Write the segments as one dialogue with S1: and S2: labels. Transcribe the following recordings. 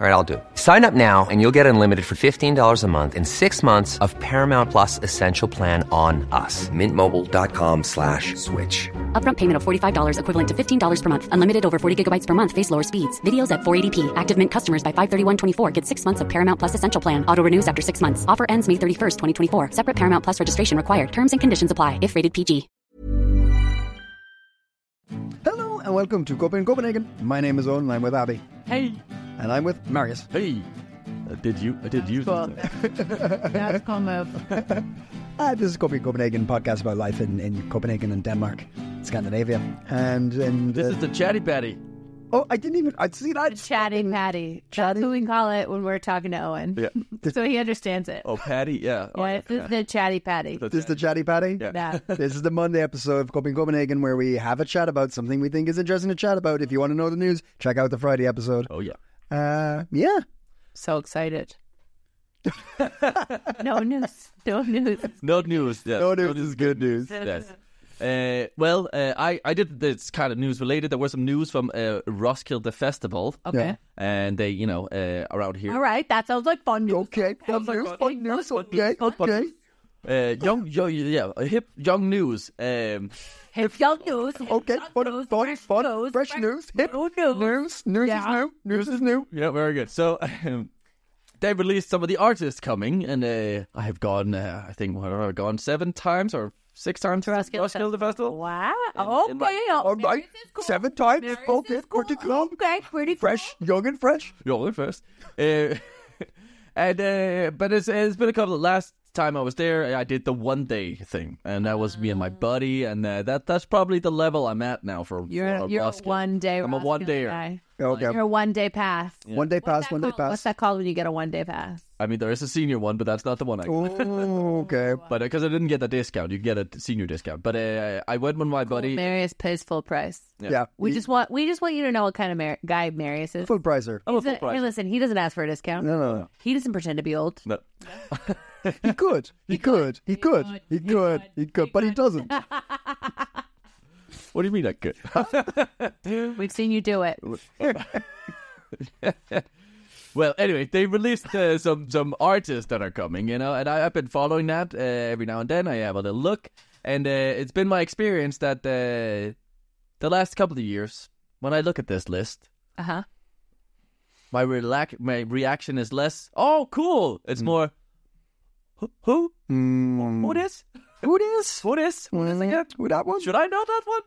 S1: All right, I'll do. it. Sign up now and you'll get unlimited for $15 a month in six months of Paramount Plus Essential Plan on us. Mintmobile.com slash switch.
S2: Upfront payment of $45 equivalent to $15 per month. Unlimited over 40 gigabytes per month. Face lower speeds. Videos at 480p. Active Mint customers by 531.24 get six months of Paramount Plus Essential Plan. Auto renews after six months. Offer ends May 31st, 2024. Separate Paramount Plus registration required. Terms and conditions apply if rated PG.
S3: Hello and welcome to Coping Copenhagen. My name is Owen and I'm with Abby.
S4: Hey,
S3: And I'm with Marius.
S5: Hey, I did you? I did you?
S4: cool. That's come up.
S3: Ah, this is Coping Copenhagen podcast about life in, in Copenhagen and Denmark, Scandinavia. And, and
S5: This is the chatty patty.
S3: oh, I didn't even, I see that.
S4: Chatting Maddie. That's who we call it when we're talking to Owen.
S5: Yeah.
S4: so he understands it.
S5: Oh, patty. Yeah. Oh,
S4: yeah, it's just the chatty patty.
S3: This is the chatty patty.
S4: That.
S3: This is the Monday episode of Coping Copenhagen where we have a chat about something we think is interesting to chat about. If you want to know the news, check out the Friday episode.
S5: Oh yeah.
S3: Uh, yeah.
S4: So excited. no news. No news.
S5: No news. Yes.
S3: No news is good news.
S5: Yes. Uh, well, uh, I I did this kind of news related. There were some news from uh, Roskilde Festival,
S4: Okay.
S3: Yeah.
S5: and they, you know, uh, around here.
S4: All right. That sounds like fun news.
S3: Okay. Fun news, fun news. Okay. Okay.
S5: Uh, young, young, yeah, uh, hip, young news. Um,
S4: If y'all news.
S3: Okay.
S4: Young
S3: Fun,
S4: news,
S3: fun, fun. Fresh
S4: fresh
S3: news. Hip.
S4: new news.
S3: News. News is
S4: Yeah.
S3: new. News is new.
S5: yeah, very good. So. Um, they released some of the artists coming, and uh, I have gone. Uh, I think what have I gone seven times or six times to
S4: Roskilde
S5: Roskilde Festival.
S4: Wow.
S5: In- in my-
S4: okay. oh,
S3: All right.
S4: Mary's is cool.
S3: Seven times.
S4: Mary's
S3: Both
S4: is
S3: hit. Pretty
S4: cool.
S3: close.
S4: Okay. Pretty cool.
S3: Fresh. Young and fresh.
S5: You're the first. Uh, and uh, but it's, it's been a couple of last time I was there. I did the one day thing, and that was me and
S4: Ah.
S5: my buddy, and uh, that that's probably the level I'm at now for uh,
S4: You're,
S5: for
S4: you're a
S5: Roskilde.
S4: one day.
S5: I'm a
S4: Roskilde
S5: one dayer.
S4: guy.
S3: Okay.
S4: You're a one day pass.
S3: One day pass. One day
S4: What's
S3: pass.
S4: that called when you get a one day pass?
S5: I mean, there is a senior one, but that's not the one I. got.
S3: Oh, okay.
S5: But because I didn't get the discount, you get a senior discount. But uh, I went with my buddy.
S4: Marius pays full price.
S3: Yeah.
S4: We just want we just want you to know what kind of mar- guy Marius is.
S3: Full pricer.
S5: I'm a
S4: He's a-
S5: full price.
S4: Hey, listen, he doesn't ask for a discount.
S3: No, no, no.
S4: He doesn't pretend to be old.
S5: No.
S3: He could. He could. He could. He could. He could. But he doesn't.
S5: What do you mean I could?
S4: We've seen you do it.
S5: Well, anyway, they released uh, some some artists that are coming, you know, and I, I've been following that uh, every now and then. I have a little look, and uh, it's been my experience that uh, the last couple of years, when I look at this list,
S4: Uh huh.
S5: my relac- my reaction is less "oh, cool."
S3: Hmm.
S5: It's more "Who- "who? Who this?
S3: Who this?
S5: Who this? Who this again?
S3: Who that one?
S5: Should I know that one?"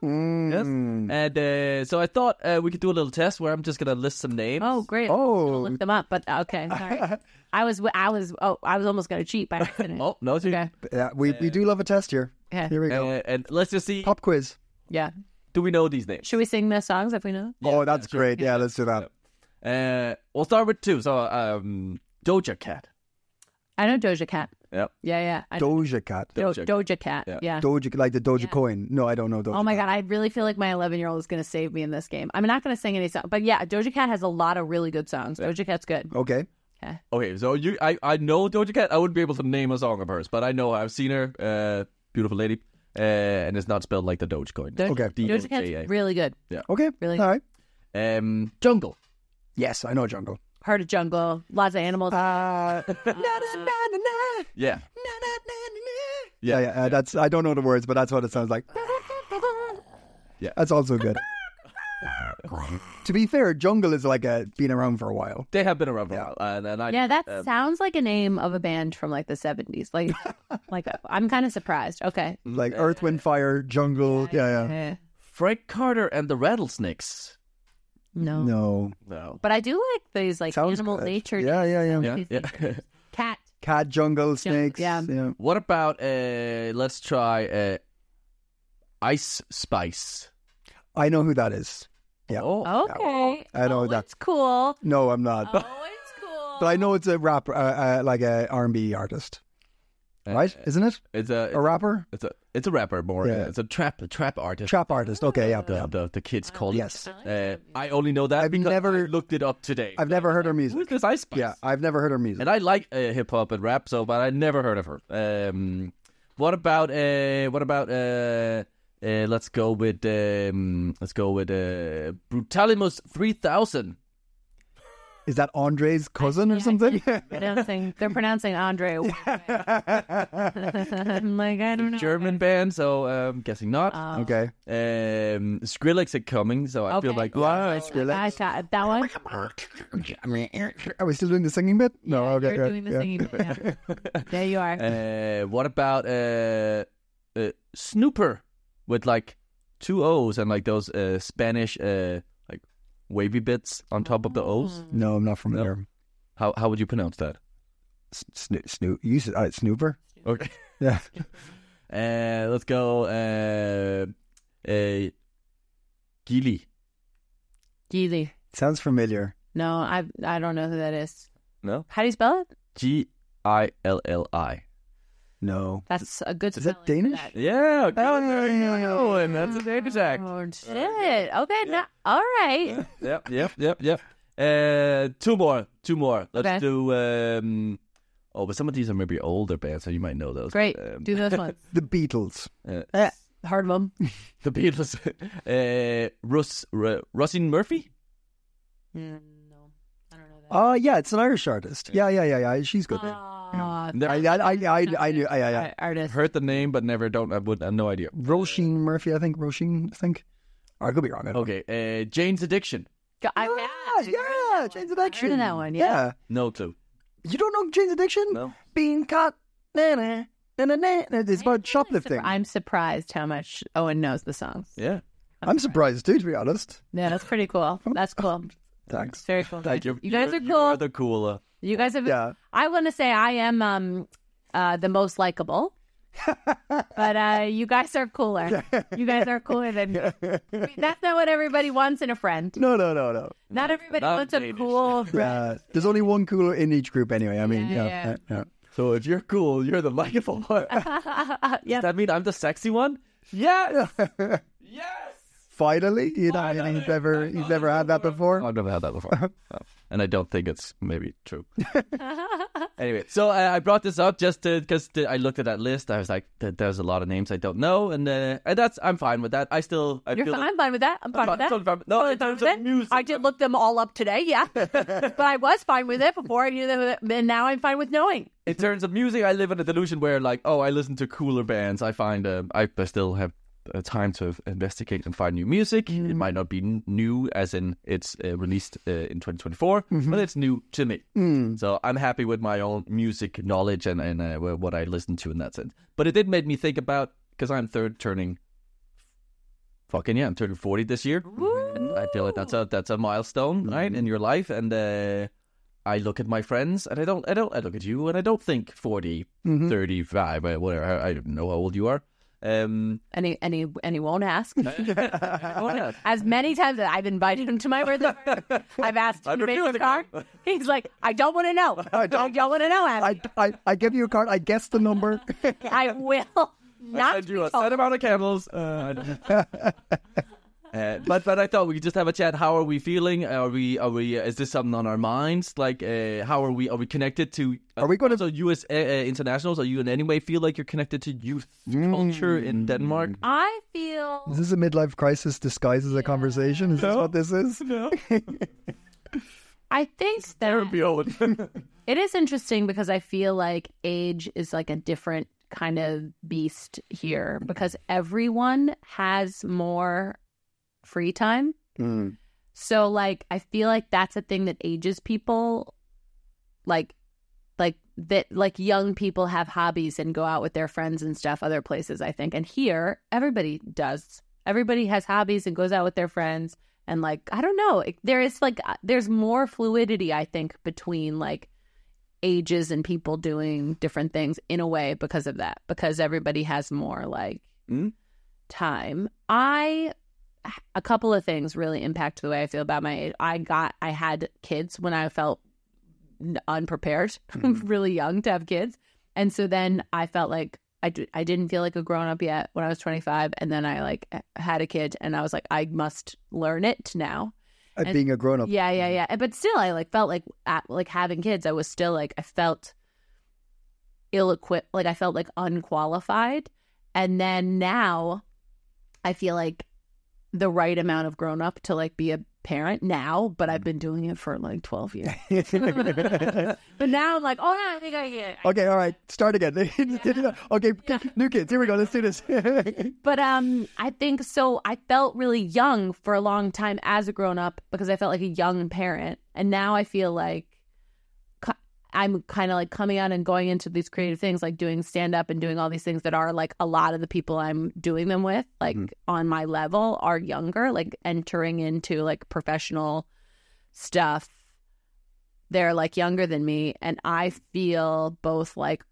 S5: Yes.
S3: Mm.
S5: And uh, so I thought uh, we could do a little test where I'm just gonna list some names.
S4: Oh, great. I was gonna
S3: Oh,
S4: look them up, but okay. Sorry. I was I was oh I was almost gonna cheat by accident.
S5: oh no, it's you.
S4: Okay.
S3: yeah, we, we do love a test here.
S4: Yeah.
S3: Here we go.
S5: Uh, and let's just see.
S3: Pop quiz.
S4: Yeah.
S5: Do we know these names?
S4: Should we sing the songs if we know?
S3: oh, that's great. Yeah, let's do that.
S5: Uh, we'll start with two. So, um, Doja Cat.
S4: I know Doja Cat.
S5: Yep.
S4: Yeah, yeah. I,
S3: Doja Cat.
S4: Do-
S5: Doja-
S4: Doja Cat.
S5: Yeah.
S4: Yeah.
S3: Doja, like the Doja coin. No, I don't know Doja.
S4: Oh my god, I really feel like my 11 year old is going to save me in this game. I'm not going to sing any song, but yeah, Doja Cat has a lot of really good songs. Doja Cat's good.
S3: Okay.
S5: Okay, so you, I, I know Doja Cat. I wouldn't be able to name a song of hers, but I know I've seen her. Uh, beautiful lady, uh, and it's not spelled like the Dogecoin.
S4: Doja,
S3: Okay.
S4: Doja Cat's really good.
S3: Okay.
S4: Really?
S3: All right.
S5: um, Jungle.
S3: Yes, I know Jungle.
S4: Heart of Jungle, lots of animals.
S3: Uh,
S5: Yeah,
S3: yeah, yeah, uh, that's. I don't know the words, but that's what it sounds like.
S5: Yeah.
S3: that's also good. to be fair, Jungle is like a been around for a while.
S5: they have been around for a while, and, and I,
S4: yeah, that
S3: uh,
S5: um,
S4: sounds like a name of a band from like the 70s. Like, like I'm kind of surprised. Okay.
S3: Like Earth, Wind, Fire, Jungle. Yeah, yeah.
S4: Eh,
S5: Frank Carter and the Rattlesnakes.
S4: no.
S3: No,
S5: No.
S4: But I do like these like
S3: sounds
S4: animal
S3: good.
S4: nature.
S3: Yeah, yeah, yeah,
S5: Yeah. yeah.
S4: Cat.
S3: Cat, jungle, snakes.
S4: yeah.
S5: what about uh, let's try uh, Ice Spice.
S3: I know who that is. Yeah.
S5: Oh,
S4: Okay.
S3: I know
S4: oh,
S3: that.
S4: It's cool.
S3: No, I'm not.
S4: Oh, it's cool.
S3: But I know it's a rapper, uh, uh, like a R&B artist, right? Isn't it
S5: It's a
S3: a rapper?
S5: It's a it's a rapper more.
S3: Yeah.
S5: It's a trap a trap artist.
S3: Trap artist. Okay, yeah.
S5: the, the the kids call
S3: Yes.
S5: it. Uh, I only know that
S3: I've
S5: because
S3: never-
S5: I looked it up today.
S3: I've never heard her
S5: Who's
S3: music.
S5: this Ice Spice?
S3: Yeah, I've never heard her music.
S5: and I like uh, hip hop and rap, so but I never heard of her. Um, What about uh what about uh, uh let's go with um let's go with uh Brutalimus 3000.
S3: Is that Andre's cousin or something?
S4: pronouncing they're pronouncing Andre. I'm like, I don't know.
S5: German band, so I'm um, guessing not.
S3: okay.
S5: um Skrillex are coming, so I feel
S4: Okay.
S5: like
S4: I got that one.
S3: Are we still doing the singing bit? No, okay.
S4: You're
S3: right,
S4: doing the
S3: yeah.
S4: singing. yeah. There you are.
S5: Uh, what about uh, uh, Snooper with like two O's and like those uh, Spanish uh, like wavy bits on top of the O's?
S3: No, I'm not familiar.
S5: How how would you pronounce that?
S3: Snoop, Snoop, you said uh, Snooper.
S5: Okay,
S3: Yeah,
S5: uh, let's go. Uh, uh, Gili.
S4: Geely.
S3: sounds familiar.
S4: No, I I don't know who that is.
S5: No,
S4: How do you spell it?
S5: G I L L I.
S3: No,
S4: That's a good.
S3: Is that
S4: spelling for
S3: Danish?
S4: that.
S5: Yeah, oh, and that's a name exact.
S4: Oh, shit. Okay. No, all right.
S5: yep, yep, yep, yep. Uh, two more, two more. Let's
S4: Okay.
S5: do. Um, oh, but some of these are maybe older bands, so you might know those.
S4: Great.
S5: Um,
S4: Do those ones.
S3: the Beatles.
S5: uh,
S4: Eh, Hard one.
S5: the Beatles. uh, Russ, R- Russin Murphy.
S4: No. I don't know
S3: Oh yeah, it's an Irish artist. Yeah, yeah, yeah, yeah. She's good.
S4: Ah. that.
S5: Never
S3: I, I, I, I, I knew. Yeah, yeah, yeah.
S4: Artist.
S5: heard the name, but never don't. I would. I have no idea.
S3: Roisin Murphy, I think. Roisin, I think. Or I could be wrong. I don't
S5: Okay. Uh, Jane's Addiction.
S4: Go- I,
S3: know.
S4: yeah,
S3: yeah, Oh yeah, Jane's Addiction.
S4: I heard of that one, yeah.
S5: No clue.
S3: You don't know Jane's Addiction?
S5: No.
S3: Being caught. Na na na na na. It's about shoplifting. I'm,
S4: I'm surprised how much Owen knows the songs.
S5: Yeah.
S3: surprised too, to be honest.
S4: Yeah, that's pretty cool. That's cool. It's
S3: Thanks.
S4: very cool.
S5: Like, you're-
S4: you guys
S5: you're-
S4: are
S5: you are
S4: cool.
S5: the cooler.
S4: You guys have.
S3: Yeah.
S4: I want to say I am um, uh, the most likable, but uh, you guys are cooler. You guys are cooler than. That's not what everybody wants in a friend.
S3: No, no, no, no.
S4: Not everybody
S5: Not
S4: wants a
S5: Danish.
S4: cool friend.
S3: Uh, there's only one cooler in each group, anyway. I mean,
S4: Yeah,
S3: yeah,
S4: yeah.
S3: yeah. yeah.
S5: So if you're cool, you're the likable one. Does
S4: yeah.
S5: that mean I'm the sexy one? Yeah.
S3: Finally, you know, he's never, he's never had that before.
S5: I've never had that before, Oh. and I don't think it's maybe true. anyway, so I, I brought this up just because I looked at that list. I was like, "There- "There's a lot of names I don't know," and uh, and that's I'm fine with that. I still I
S4: You're
S5: feel
S4: fine. I'm fine with that. I'm fine
S5: fine-
S4: with that.
S5: totally fine with- no,
S4: Totally
S5: in
S4: fine
S5: terms
S4: with
S5: of
S4: it.
S5: music.
S4: I did look them all up today. Yeah, but I was fine with it before. I knew that, and now I'm fine with knowing.
S5: in terms of music, I live in a delusion where like, oh, I listen to cooler bands. I find um, I, I still have uh, time to investigate and find new music.
S4: Mm.
S5: It might not be n- new as in it's uh, released uh, in 2024, but it's new to me.
S3: Hmm.
S5: So I'm happy with my own music knowledge and and uh, wh- what I listen to in that sense. But it did make me think about because I'm third turning. Fucking yeah, I'm turning 40 this year. And I feel like that's a that's a milestone, right, in your life and. uh I look at my friends and I don't, I don't, I look at you and I don't think 40, 35, uh, whatever, I, I don't know how old you are. Um,
S4: And he, and he, and he won't ask.
S5: I wanna ask,
S4: As many times as I've invited him to my birthday, party, I've asked him
S5: I'm
S4: to make
S5: reviewing
S4: his
S5: the
S4: card. He's like, I don't want to know. I don't, want to know.
S3: I,
S4: Abby.
S3: I, I give you a card. I guess the number.
S4: I, will
S5: I
S4: not.
S5: send you
S4: be
S5: a
S4: told.
S5: set amount of candles. Uh, I don't- Uh, but but I thought we could just have a chat. How are we feeling? Are we are we? Uh, is this something on our minds? Like, uh, how are we? Are we connected to?
S3: Are we gonna-
S5: so U.S. Uh, uh, internationals? Are you in any way feel like you're connected to youth culture in Denmark?
S4: I feel
S3: is this a midlife crisis disguised as a conversation? Is this what this is?
S5: No,
S4: I think that
S5: be old.
S3: Mm.
S4: it is interesting because I feel like age is like a different kind of beast here because everyone has more free time.
S3: Mm.
S4: So like I feel like that's a thing that ages people like like that like young people have hobbies and go out with their friends and stuff other places I think. And here everybody does. Everybody has hobbies and goes out with their friends and like I don't know, it- there is like uh, there's more fluidity I think between like ages and people doing different things in a way because of that because everybody has more like
S5: Mm.
S4: time. I a couple of things really impact the way I feel about my age. I got, I had kids when I felt n- unprepared, really young to have kids. And so then I felt like I, d- I didn't feel like a grown up yet when I was 25. And then I like h- had a kid and I was like, I must learn it now.
S3: At
S4: And-
S3: being a grown up.
S4: Yeah, yeah, yeah. But still, I like felt like at, like having kids. I was still like I felt ill equipped, like I felt like unqualified. And then now I feel like the right amount of grown up to like be a parent now, but I've been doing it for like 12 years. but now I'm like, oh yeah, I think I get it.
S3: Okay, all right, start again. okay, new kids, here we go. Let's do this.
S4: But um, I think so. I felt really young for a long time as a grown up because I felt like a young parent, and now I feel like cu- I'm kind of like coming out and going into these creative things, like doing stand up and doing all these things that are like a lot of the people I'm doing them with, like on my level, are younger, like entering into like professional stuff. They're like younger than me, and I feel both like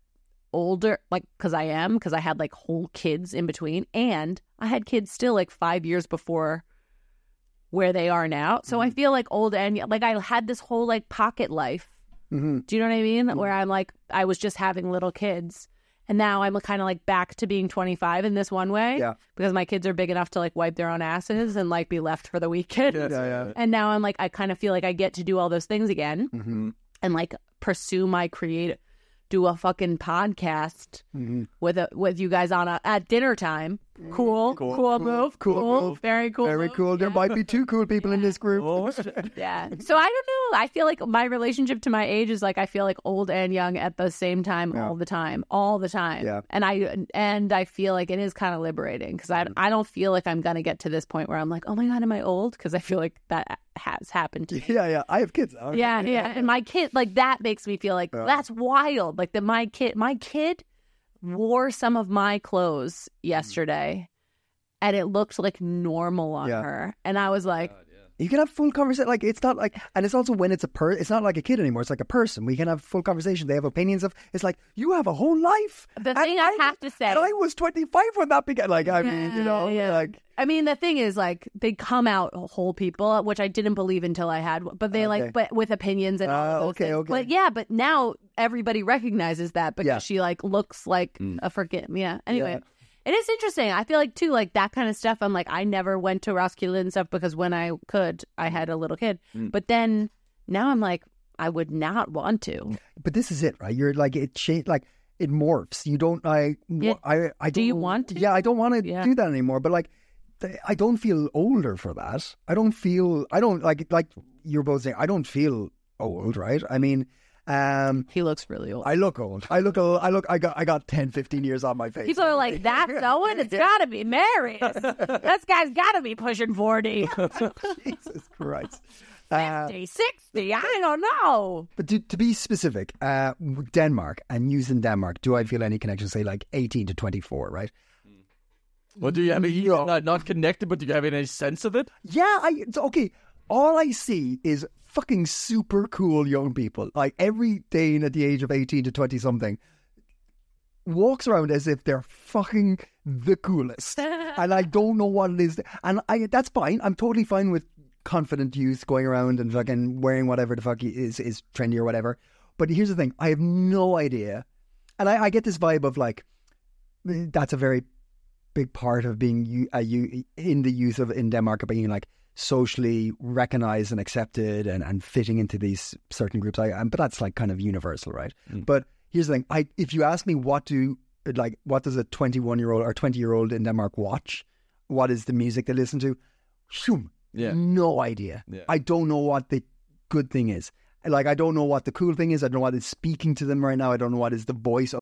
S4: older like because i am because i had like whole kids in between and i had kids still like five years before where they are now so i feel like old and like i had this whole like pocket life
S3: Mhm.
S4: do you know what i mean where i'm like i was just having little kids and now i'm kind of like back to being 25 in this one way
S3: Yeah.
S4: because my kids are big enough to like wipe their own asses and like be left for the weekend
S3: yeah.
S4: and now i'm like i kind of feel like i get to do all those things again
S3: Mhm.
S4: and like pursue my creative do a fucking podcast
S3: Mhm.
S4: with a, with you guys on a, at dinner time cool cool, move
S3: Mm, cool
S4: cool,
S3: move.
S4: very cool
S3: Very
S4: move.
S3: cool. There might be two cool people in this group.
S4: yeah so i don't know i feel like my relationship to my age is like i feel like old and young at the same time all the time all the time
S3: Yeah.
S4: and i and i feel like it is kind of liberating because
S3: Mm-hmm.
S4: I, I don't feel like i'm gonna get to this point where i'm like oh my god am i old because i feel like that has happened to me
S3: Yeah, yeah. I have kids. Okay.
S4: Yeah, yeah. And my kid, like that makes me feel like that's wild. Like that my kid, my kid wore some of my clothes yesterday and it looked like normal on
S3: Yeah.
S4: her. And I was like,
S3: You can have full conversation. Like it's not like, and it's also when it's a per. It's not like a kid anymore. It's like a person. We can have full conversation. They have opinions of. It's like you have a whole life.
S4: The
S3: And
S4: thing I have to say-
S3: and I was twenty five when that began. Like I mean, you know,
S4: Yeah, yeah.
S3: like
S4: I mean, the thing is, like, they come out whole people, which I didn't believe until I had, one, but they
S3: Okay.
S4: like, but with opinions and all
S3: Ah,
S4: of those
S3: okay,
S4: things.
S3: okay.
S4: But yeah, but now everybody recognizes that because
S3: Yeah.
S4: she like looks like a forget. Yeah. Anyway, it is interesting. I feel like too, like that kind of stuff. I'm like, I never went to Roskilde and stuff because when I could, I had a little kid. But then now I'm like, I would not want to.
S3: but this is it, right? You're like it cha- like it morphs. You don't I
S4: Yeah.
S3: I I
S4: Do you
S3: don't-
S4: want to?
S3: Yeah, I don't want to
S4: Yeah.
S3: do that anymore. But like, th- I don't feel older for that. I don't feel I don't like like you're both saying I don't feel old, right? I mean, um,
S4: He looks really old.
S3: I look old. I look old. I look. I got I got 10, 15 years on my face.
S4: People are like, that's Owen. It's got to be Marius. this guy's got to be pushing 40.
S3: Jesus Christ. Uh,
S4: 50, 60, I don't know.
S3: but to, to be specific, uh, Denmark and news in Denmark, do I feel any connection? Say like eighteen to twenty four, right?
S5: What do you have? Mean, you're not, not connected, but do you have any sense of it?
S3: Yeah, I it's- okay. All I see is fucking super cool young people. Like every Dane at the age of eighteen to twenty something walks around as if they're fucking the coolest, and I don't know what it is. And I that's fine. I'm totally fine with confident youth going around and fucking wearing whatever the fuck is is trendy or whatever. But here's the thing: I have no idea, and I, I get this vibe of like that's a very big part of being you, uh, you in the youth of in Denmark of being like socially recognized and accepted and, and fitting into these certain groups. I, and, but that's like kind of universal, right?
S5: Mm.
S3: But here's the thing: I if you ask me what do like what does a 21 year old or 20 year old in Denmark watch? What is the music they listen to? Shoom,
S5: Yeah.
S3: no idea.
S5: Yeah.
S3: I don't know what the good thing is. Like I don't know what the cool thing is. I don't know what is speaking to them right now. I don't know what is the voice of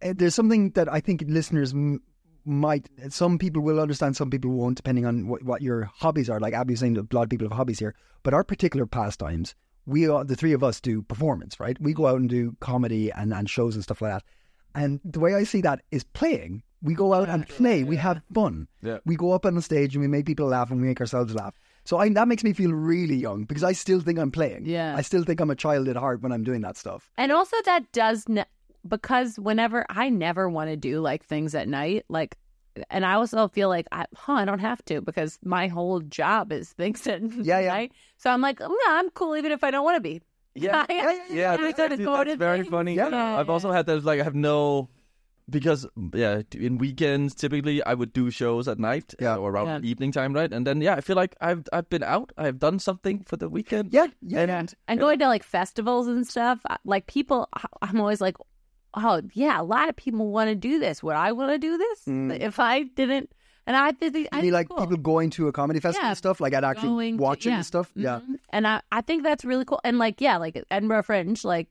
S3: eh, there's something that I think listeners m- might, some people will understand, some people won't, depending on what, what your hobbies are. Like Abby's saying, a lot of people have hobbies here, but our particular pastimes, we are, the three of us do performance, right? We go out and do comedy and, and shows and stuff like that. And the way I see that is playing We go out and play. We have fun.
S5: Yeah.
S3: We go up on the stage and we make people laugh and we make ourselves laugh. So I, that makes me feel really young because I still think I'm playing.
S4: Yeah.
S3: I still think I'm a child at heart when I'm doing that stuff.
S4: And also that does n because whenever I never want to do like things at night, like and I also feel like I huh, I don't have to because my whole job is things at
S3: Yeah, yeah.
S4: night. So I'm like, no, I'm cool even if I don't want to be.
S5: Yeah,
S4: I-
S5: yeah, yeah.
S4: I
S5: that's-
S4: gotta
S5: that's-
S4: go
S5: that's
S4: to
S5: very
S4: things.
S5: funny.
S3: Yeah.
S5: I've also had that. Like, I have no because yeah, in weekends typically I would do shows at night
S3: Yeah.
S5: or around
S4: Yeah.
S5: evening time, right? And then yeah, I feel like I've I've been out. I've done something for the weekend.
S3: Yeah, yeah.
S5: and
S4: And going to like festivals and stuff, I- like people, I- I'm always like, oh yeah, a lot of people want to do this. Would I want to do this
S3: Mm.
S4: if I didn't? And I did. the-
S3: I
S4: I
S3: mean,
S4: think
S3: like
S4: cool.
S3: people going to a comedy festival
S4: Yeah,
S3: and stuff, like I'd actually
S4: going to-
S3: watch it
S4: yeah.
S3: and stuff. Yeah.
S4: Mhm. And I, I think that's really cool. And like, yeah, like Edinburgh Fringe, like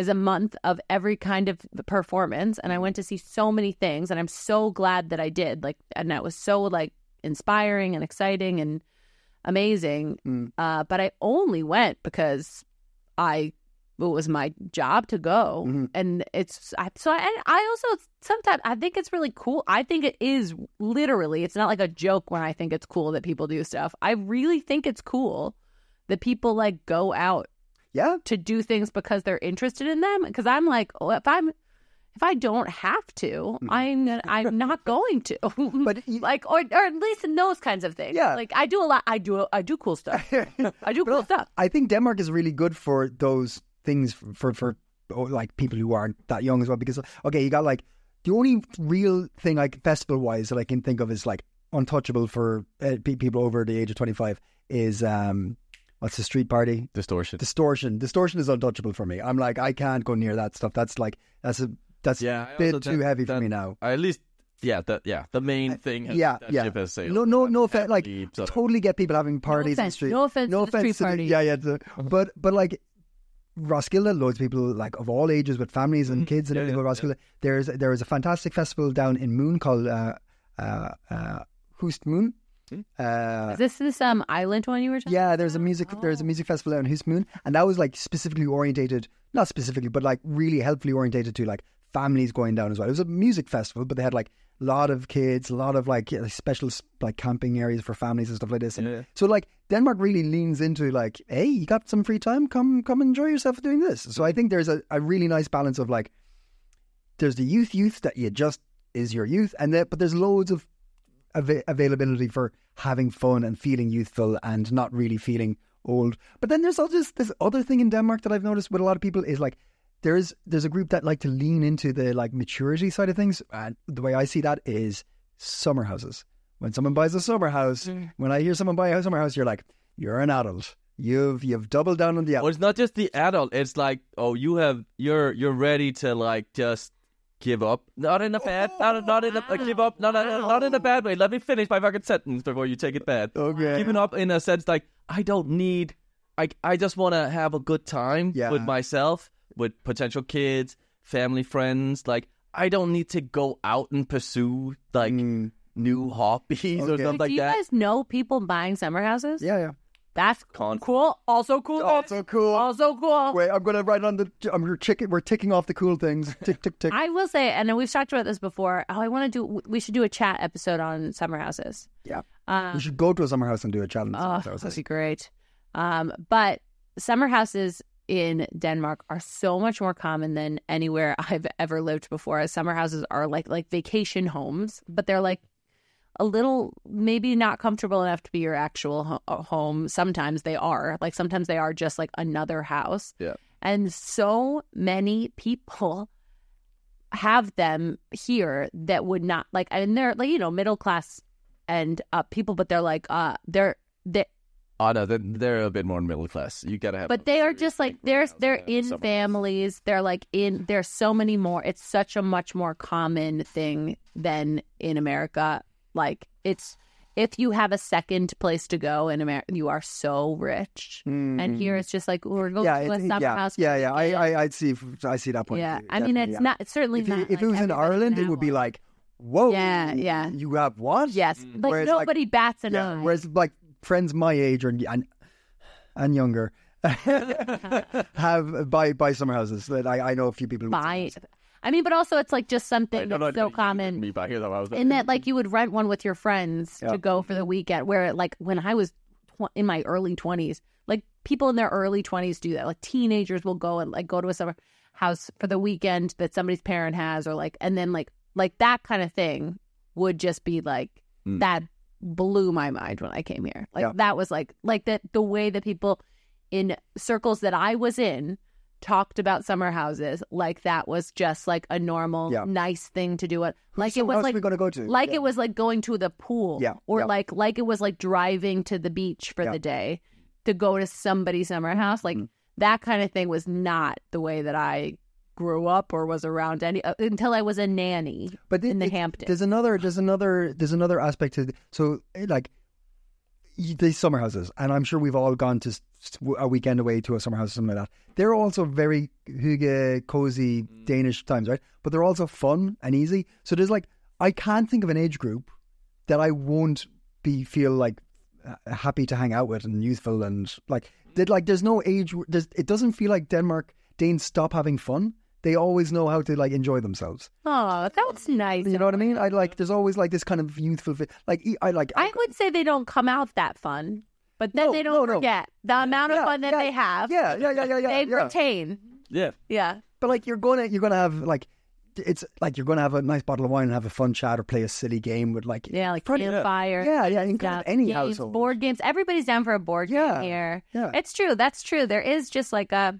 S4: is a month of every kind of performance. And I went to see so many things and I'm so glad that I did. Like and that was so like inspiring and exciting and amazing.
S3: Mm.
S4: Uh, but I only went because I it was my job to go
S3: Mhm.
S4: and it's I, so I, and I also sometimes I think it's really cool. I think it is literally. It's not like a joke when I think it's cool that people do stuff. I really think it's cool that people like go out
S3: Yeah.
S4: to do things because they're interested in them. Because I'm like, oh, if I'm if I don't have to, I'm gonna- I'm not going to.
S3: Mm-hmm. But you-
S4: like, or or at least in those kinds of things.
S3: Yeah.
S4: like I do a lot. I do I do cool stuff. I do cool stuff.
S3: I think Denmark is really good for those things for for, for oh, like people who aren't that young as well. Because okay, you got like the only real thing like festival wise that I can think of is like untouchable for uh, pe- people over the age of twenty five is um what's the street party
S5: distortion.
S3: distortion. Distortion is untouchable for me. I'm like I can't go near that stuff. That's like that's a that's
S5: Yeah, I
S3: a bit
S5: also
S3: too
S5: that-
S3: heavy for
S5: that-
S3: me now.
S5: at least yeah, that yeah, the main thing. Has,
S3: yeah,
S5: that
S3: yeah.
S5: ship has sailed.
S3: No, no, no offense. Like,
S5: Happy sort of-
S3: totally get people having parties in the
S4: offense,
S3: street.
S4: no offense to the street
S3: to the-
S4: party.
S3: yeah,
S4: Uh-huh.
S3: yeah. the- but but like Roskilde, loads of people like of all ages with families and
S4: Mm-hmm.
S3: kids and
S5: Yeah,
S3: everything.
S5: yeah,
S3: go to Roskilde. There's there is a fantastic festival down in Moon called uh, uh, uh, Hoost Moon.
S4: Hmm?
S3: Uh,
S4: Is this this um island one you were talking?
S3: yeah, there's a music there's a music festival in Moon, and that was like specifically orientated, not specifically, but like really helpfully orientated to like families going down as well. It was a music festival, but they had like a lot of kids, a lot of like yeah, like, special s- like camping areas for families and stuff like this. And
S5: Yeah.
S3: So like Denmark really leans into like, hey, you got some free time, come come enjoy yourself doing this. So I think there's a, a really nice balance of like there's the youth youth that you just is your youth and that but there's loads of av- availability for having fun and feeling youthful and not really feeling old but then there's all this this other thing in denmark that i've noticed with a lot of people is like there's there's a group that like to lean into the like maturity side of things and the way i see that is summer houses when someone buys a summer house when i hear someone buy a summer house you're like you're an adult you've you've doubled down on the
S5: Well, it's not just the adult. It's like, oh, you have you're you're ready to like just give up. Not in a bad, not not in a uh, give up. Not not- not in a bad way. Let me finish my fucking sentence before you take it bad.
S3: Okay.
S5: Giving up in a sense like I don't need. I I just want to have a good time
S3: Yeah.
S5: with myself, with potential kids, family, friends. Like I don't need to go out and pursue like new hobbies or
S3: Mm. Okay.
S5: stuff like
S4: do you
S5: that.
S4: guys know people buying summer houses?
S3: yeah yeah
S4: That's cool. Also cool.
S3: also cool
S4: Also cool.
S3: Wait, I'm gonna write on the. I'm we're ticking. We're ticking off the cool things. Tick, tick, tick.
S4: I will say, and we've talked about this before. Oh, I want to do. We should do a chat episode on summer houses.
S3: yeah,
S4: Um,
S3: we should go to a summer house and do a challenge.
S4: oh,
S3: So I was
S4: that'd
S3: like,
S4: be great. Um, but summer houses in Denmark are so much more common than anywhere I've ever lived before. Summer houses are like like vacation homes, but they're like a little maybe not comfortable enough to be your actual ho- uh, home. Sometimes they are like sometimes they are just like another house.
S5: Yeah.
S4: and so many people have them here that would not like and they're like you know middle class and uh people but they're like uh they're they
S5: Oh no, they're, they're a bit more middle class. You gotta have.
S4: but
S5: a
S4: they are
S5: serious
S4: just like
S5: thing for
S4: they're
S5: house
S4: they're
S5: and
S4: in
S5: someone else.
S4: families they're like in there's so many more it's such a much more common thing than in america like it's if you have a second place to go in america you are so rich and here it's just like we're going
S3: mm-hmm. yeah,
S4: to a
S3: it,
S4: summer
S3: yeah,
S4: house
S3: yeah, yeah. I, I, I see. I see that point. of
S4: yeah
S3: view,
S4: i mean
S3: definitely,
S4: it's
S3: yeah.
S4: not it's certainly
S3: If,
S4: not
S3: you, if
S4: like
S3: it was in
S4: everybody can
S3: Ireland, it
S4: have
S3: would be
S4: one.
S3: like, whoa,
S4: Yeah, yeah.
S3: You have what? Mm.
S4: yes like
S3: Whereas, like-
S4: nobody bats an
S3: yeah.
S4: eye
S3: Whereas like friends my age or and and younger have buy buy summer houses. That I, I know a few people. who would say
S4: buy.
S3: that.
S4: I mean, but also it's like just something
S5: No,
S4: that's
S5: no,
S4: so
S5: you-
S4: common.
S5: Me, but here's how I was.
S4: in that like you would rent one with your friends
S3: Yeah.
S4: to go for the weekend where like when i was tw- in my early 20s like people in their early 20s do that like teenagers will go and like go to a summer house for the weekend that somebody's parent has or like and then like like that kind of thing would just be like
S5: Mm.
S4: that blew my mind when i came here like
S3: Yeah.
S4: that was like like that the way that people in circles that i was in talked about summer houses like that was just like a normal
S3: Yeah.
S4: nice thing to do it like it
S3: Somewhere
S4: was
S3: else
S4: like
S3: we're going to go to.
S4: like
S3: Yeah.
S4: it was like going to the pool
S3: Yeah,
S4: or
S3: yeah.
S4: like like it was like driving to the beach for
S3: Yeah.
S4: the day to go to somebody's summer house like
S3: Mm.
S4: that kind of thing was not the way that i grew up or was around any uh, until i was a nanny
S3: but
S4: in the
S3: it-
S4: Hamptons.
S3: There's another. There's another. There's another aspect to. th- So eh, like y- these summer houses, and I'm sure we've all gone to s- s- a weekend away to a summer house or something like that. They're also very hygge, cozy Danish times, right? But they're also fun and easy. So there's like I can't think of an age group that I won't be feel like uh, happy to hang out with and youthful and like that like there's no age w- there's it doesn't feel like Denmark Danes stop having fun they always know how to like enjoy themselves
S4: oh that's nice
S3: you know what I mean? I like. There's always like this kind of youthful, fi- like e- I like.
S4: i would say they don't come out that fun but then
S3: No,
S4: they
S3: no,
S4: don't
S3: no.
S4: forget the amount of
S3: Yeah,
S4: fun that
S3: yeah,
S4: they have
S3: yeah, yeah, yeah, yeah, yeah.
S4: they
S3: yeah.
S4: retain
S5: yeah.
S4: yeah
S3: But like, you're gonna you're gonna have like, it's like you're gonna have a nice bottle of wine and have a fun chat or play a silly game with like
S4: yeah like
S3: Pretty-
S4: campfire
S3: yeah, yeah, in kind
S4: Yeah,
S3: of any
S4: games,
S3: household.
S4: board games. Everybody's down for a board
S3: Yeah,
S4: game here.
S3: yeah.
S4: It's true. That's true. There is just like a.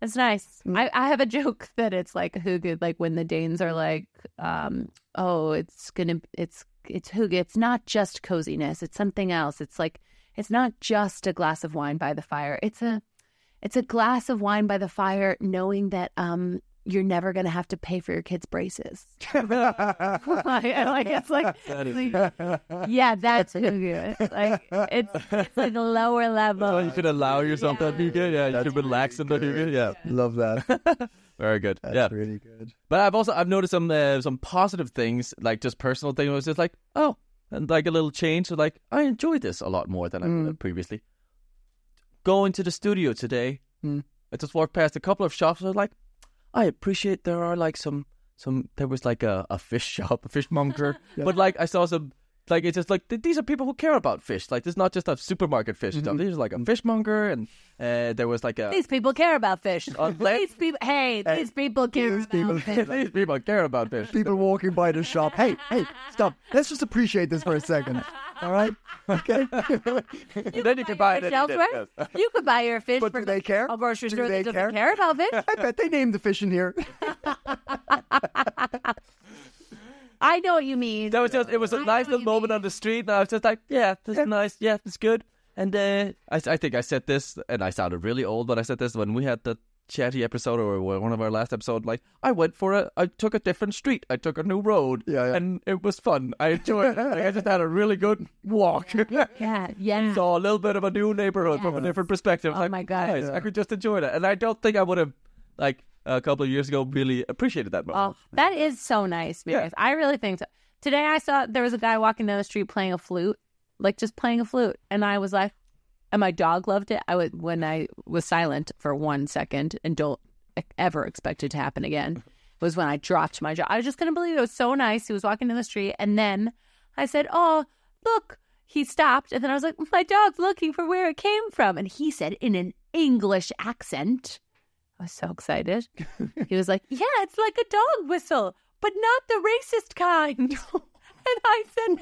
S4: It's nice.
S5: Mm.
S4: I, I have a joke that it's like hygge, like when the Danes are like, um, oh, it's gonna, it's it's hygge. It's not just coziness. It's something else. It's like it's not just a glass of wine by the fire. It's a it's a glass of wine by the fire, knowing that um you're never gonna have to pay for your kids' braces. like, like, it's like,
S5: That is-
S4: it's like- yeah, that's who you it's like it's, it's like lower
S5: Oh,
S4: level.
S5: you should allow yourself that hygge. Yeah, you should relax in the hygge. Yeah,
S3: Love that.
S5: very good.
S3: That's
S5: yeah,
S3: really good.
S5: but I've also I've noticed some uh, some positive things, like just personal things. It was just like oh, and like a little change. So like I enjoy this a lot more than I would previously. Going to the studio today,
S3: Mm.
S5: I just walked past a couple of shops. I was like, I appreciate there are like some some there was like a, a fish shop, a fishmonger, but like I saw some. Like it's just like th- these are people who care about fish. Like this is not just a supermarket fish stuff. These are like a fishmonger, and uh, there was like a
S4: These people care about fish.
S5: let-
S4: these people, hey, these people care
S3: these
S4: about
S3: people-
S4: fish.
S5: these people care about fish.
S3: People walking by the shop. Hey, hey, stop. Let's just appreciate this for a second. All right? Okay.
S5: And then you can buy it. and eat it.
S4: elsewhere. You could buy your fish
S3: But
S4: from
S3: do they care?
S4: a grocery
S3: Do
S4: store
S3: they
S4: that
S3: care?
S4: doesn't care about fish.
S3: I bet they named the fish in here.
S4: I know what you mean.
S5: That was just it was a nice little moment on the street, and I was just like, yeah, this is nice, yeah, it's good. And uh, I, I think I said this, and I sounded really old, but I said this when we had the chatty episode or one of our last episode. Like, I went for a, I took a different street, I took a new road,
S3: Yeah, yeah.
S5: and it was fun. I enjoyed. it. Like, I just had a really good walk.
S4: Yeah, yeah.
S5: Saw a little bit of a new neighborhood from a different perspective.
S4: Oh
S5: Like,
S4: my God.
S5: nice, I could just enjoy that, and I don't think I would have like a couple of years ago really appreciated that
S4: Oh,
S5: moment.
S4: that is so nice, Marius. I really think so. Today I saw there was a guy walking down the street playing a flute, like just playing a flute, and I was like, and my dog loved it. I would when I was silent for one second and don't e-, ever expect it to happen again. Was when I dropped my jaw. I was just couldn't believe it. it was so nice. He was walking down the street, and then I said, "Oh, look." He stopped, and then I was like, "My dog's looking for where it came from," and he said in an English accent. I was so excited. He was like, Yeah, it's like a dog whistle, but not the racist kind. and I said,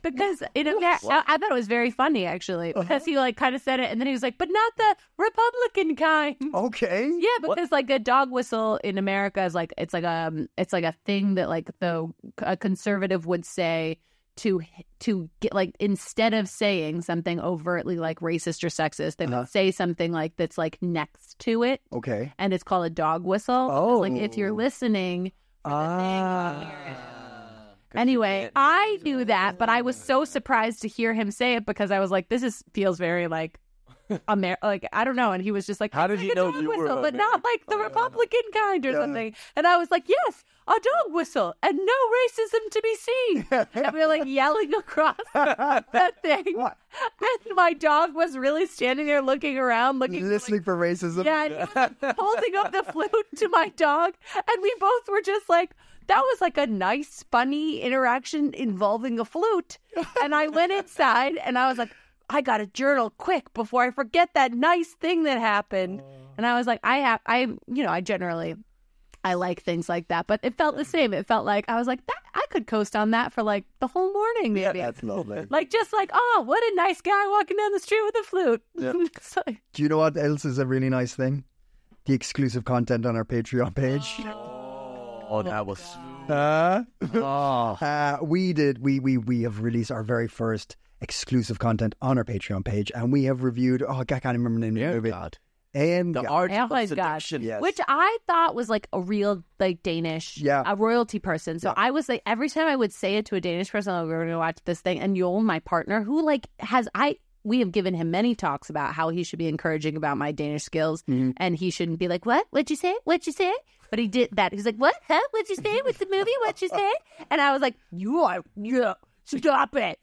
S4: Because in America, I, I thought it was very funny actually, because he like kind of said it and then he was like, But not the Republican kind.
S3: Oh, Okay.
S4: Yeah, because like a dog whistle in America is like it's like um it's like a thing that like the a conservative would say to to get like instead of saying something overtly like racist or sexist, they
S3: Uh-huh.
S4: would say something like that's like next to it
S3: Okay.
S4: and it's called a dog whistle.
S3: Oh.
S4: Like if you're listening.
S3: Ah.
S4: Anyway, I knew that, but I was so surprised to hear him say it because I was like, this is feels very like Amer like I don't know. And he was just like,
S5: How did
S4: "It's
S5: he
S4: like a
S5: know
S4: dog
S5: you were Oh,
S4: whistle, but not
S5: American?
S4: like the Republican kind or something? And I was like, yes, a dog whistle and no racism to be seen. and we were like yelling across that thing.
S3: What?
S4: And my dog was really standing there looking around, looking
S3: Listening for racism.
S4: yeah, and he was like, holding up the flute to my dog, and we both were just like, that was like a nice, funny interaction involving a flute. And I went inside, and I was like, I got to journal quick before I forget that nice thing that happened. And I was like, I have, I, you know, I generally. I like things like that, but it felt the same. It felt like I was like that. I could coast on that for like the whole morning, maybe.
S3: That's lovely.
S4: like just like, oh, what a nice guy walking down the street with a flute. So-
S3: Do you know what else is a really nice thing? The exclusive content on our Patreon page.
S5: Oh, that was.
S3: Uh,
S5: Oh,
S3: uh, we did. We we we have released our very first exclusive content on our Patreon page, and we have reviewed. Oh, I can't remember the name of the movie.
S5: God.
S3: And
S5: The art
S4: Oh
S5: of
S4: my gosh.
S5: seduction.
S3: Yes.
S4: Which I thought was like a real like Danish,
S3: Yeah.
S4: a royalty person. So I was like, every time I would say it to a Danish person, like, we're going to watch this thing, and Joel, my partner, who like has I. We have given him many talks about how he should be encouraging about my Danish skills,
S3: Mm-hmm.
S4: and he shouldn't be like, "What? What'd you say? What'd you say?" But he did that. He's like, "What? Huh? What'd you say? What's the movie? What'd you say?" And I was like, "You are, yeah, stop it,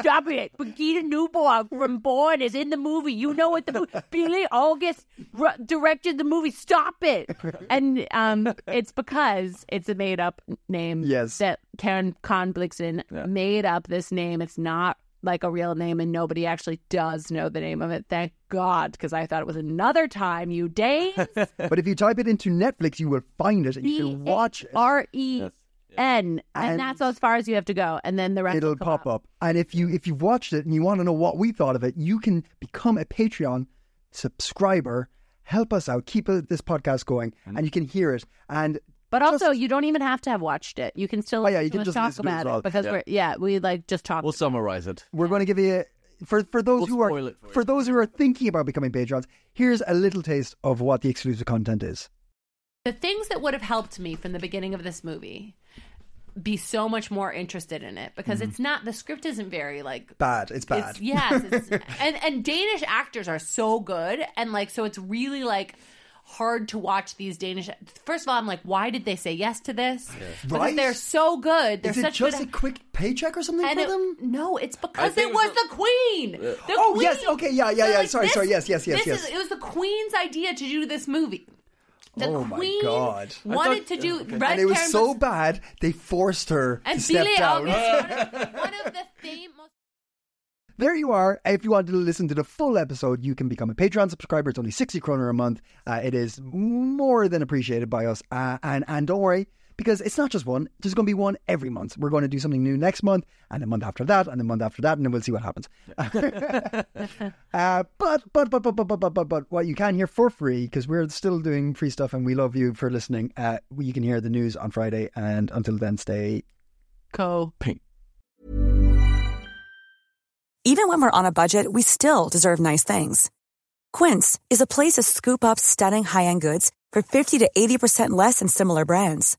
S4: stop it." Birgitta Newborn from Born is in the movie. You know what the movie? Billy August r- directed the movie. Stop it. And um, it's because it's a made up name.
S3: Yes.
S4: that Karen Conblixen made up this name. It's not like a real name, and nobody actually does know the name of it. Thank God, because I thought it was another time. You Danes.
S3: but if you type it into Netflix, you will find it and you can watch it.
S4: R E N,
S3: And-
S4: and that's as far as you have to go, and then the rest
S3: It'll
S4: will come
S3: pop up. And if you if you've watched it and you want to know what we thought of it, you can become a Patreon subscriber. Help us out. Keep uh, this podcast going, and you can hear it. And
S4: But also, you don't even have to have watched it. You can still
S3: Oh, yeah, you
S4: listen to
S3: can
S4: us
S3: just
S4: talk
S3: listen to us
S4: about
S3: all.
S4: it because we're yeah we like just talk.
S5: We'll summarize it.
S3: we're going to give you for for those
S5: We'll
S3: who are
S5: spoil it
S3: for,
S5: for you.
S3: those who are thinking about becoming patrons. Here's a little taste of what the exclusive content is.
S6: the things that would have helped me from the beginning of this movie be so much more interested in it because it's not the script isn't very like
S3: Bad. It's Mm-hmm. bad.
S6: it's yes it's, and and danish actors are so good and like so it's really like hard to watch these danish first of all i'm like why did they say yes to this because
S3: Right?
S6: they're so good they're
S3: Is it
S6: such
S3: just
S6: good
S3: a quick paycheck or something
S6: and
S3: for
S6: it-
S3: them?
S6: no, it's because
S5: think
S6: it
S5: it
S6: was
S5: was
S6: the queen. The
S3: Oh,
S6: queen.
S3: yes, okay, yeah, yeah,
S6: So,
S3: yeah, sorry, sorry, yes, yes, yes,
S6: this
S3: yes.
S6: Is, it was the queen's idea to do this movie. The
S3: Oh, my
S6: queen
S3: God. I
S6: wanted to do Red
S3: and it was
S6: Karen
S3: so bad they forced her
S6: and
S3: to step
S6: Billie
S3: down.
S6: Eilish, one of- one of the famous.
S3: There you are. If you want to listen to the full episode, you can become a Patreon subscriber. It's only 60 kroner a month. Uh, it is more than appreciated by us. Uh, and, and don't worry, because it's not just one. There's going to be one every month. We're going to do something new next month, and the month after that, and the month after that, and then we'll see what happens. uh, but, but, but, but, but, but, but, but, but, what you can hear for free, because we're still doing free stuff and we love you for listening, uh, you can hear the news on Friday. And until then, stay
S4: Co.
S7: Even when we're on a budget, we still deserve nice things. Quince is a place to scoop up stunning high-end goods for 50 to 80% less than similar brands.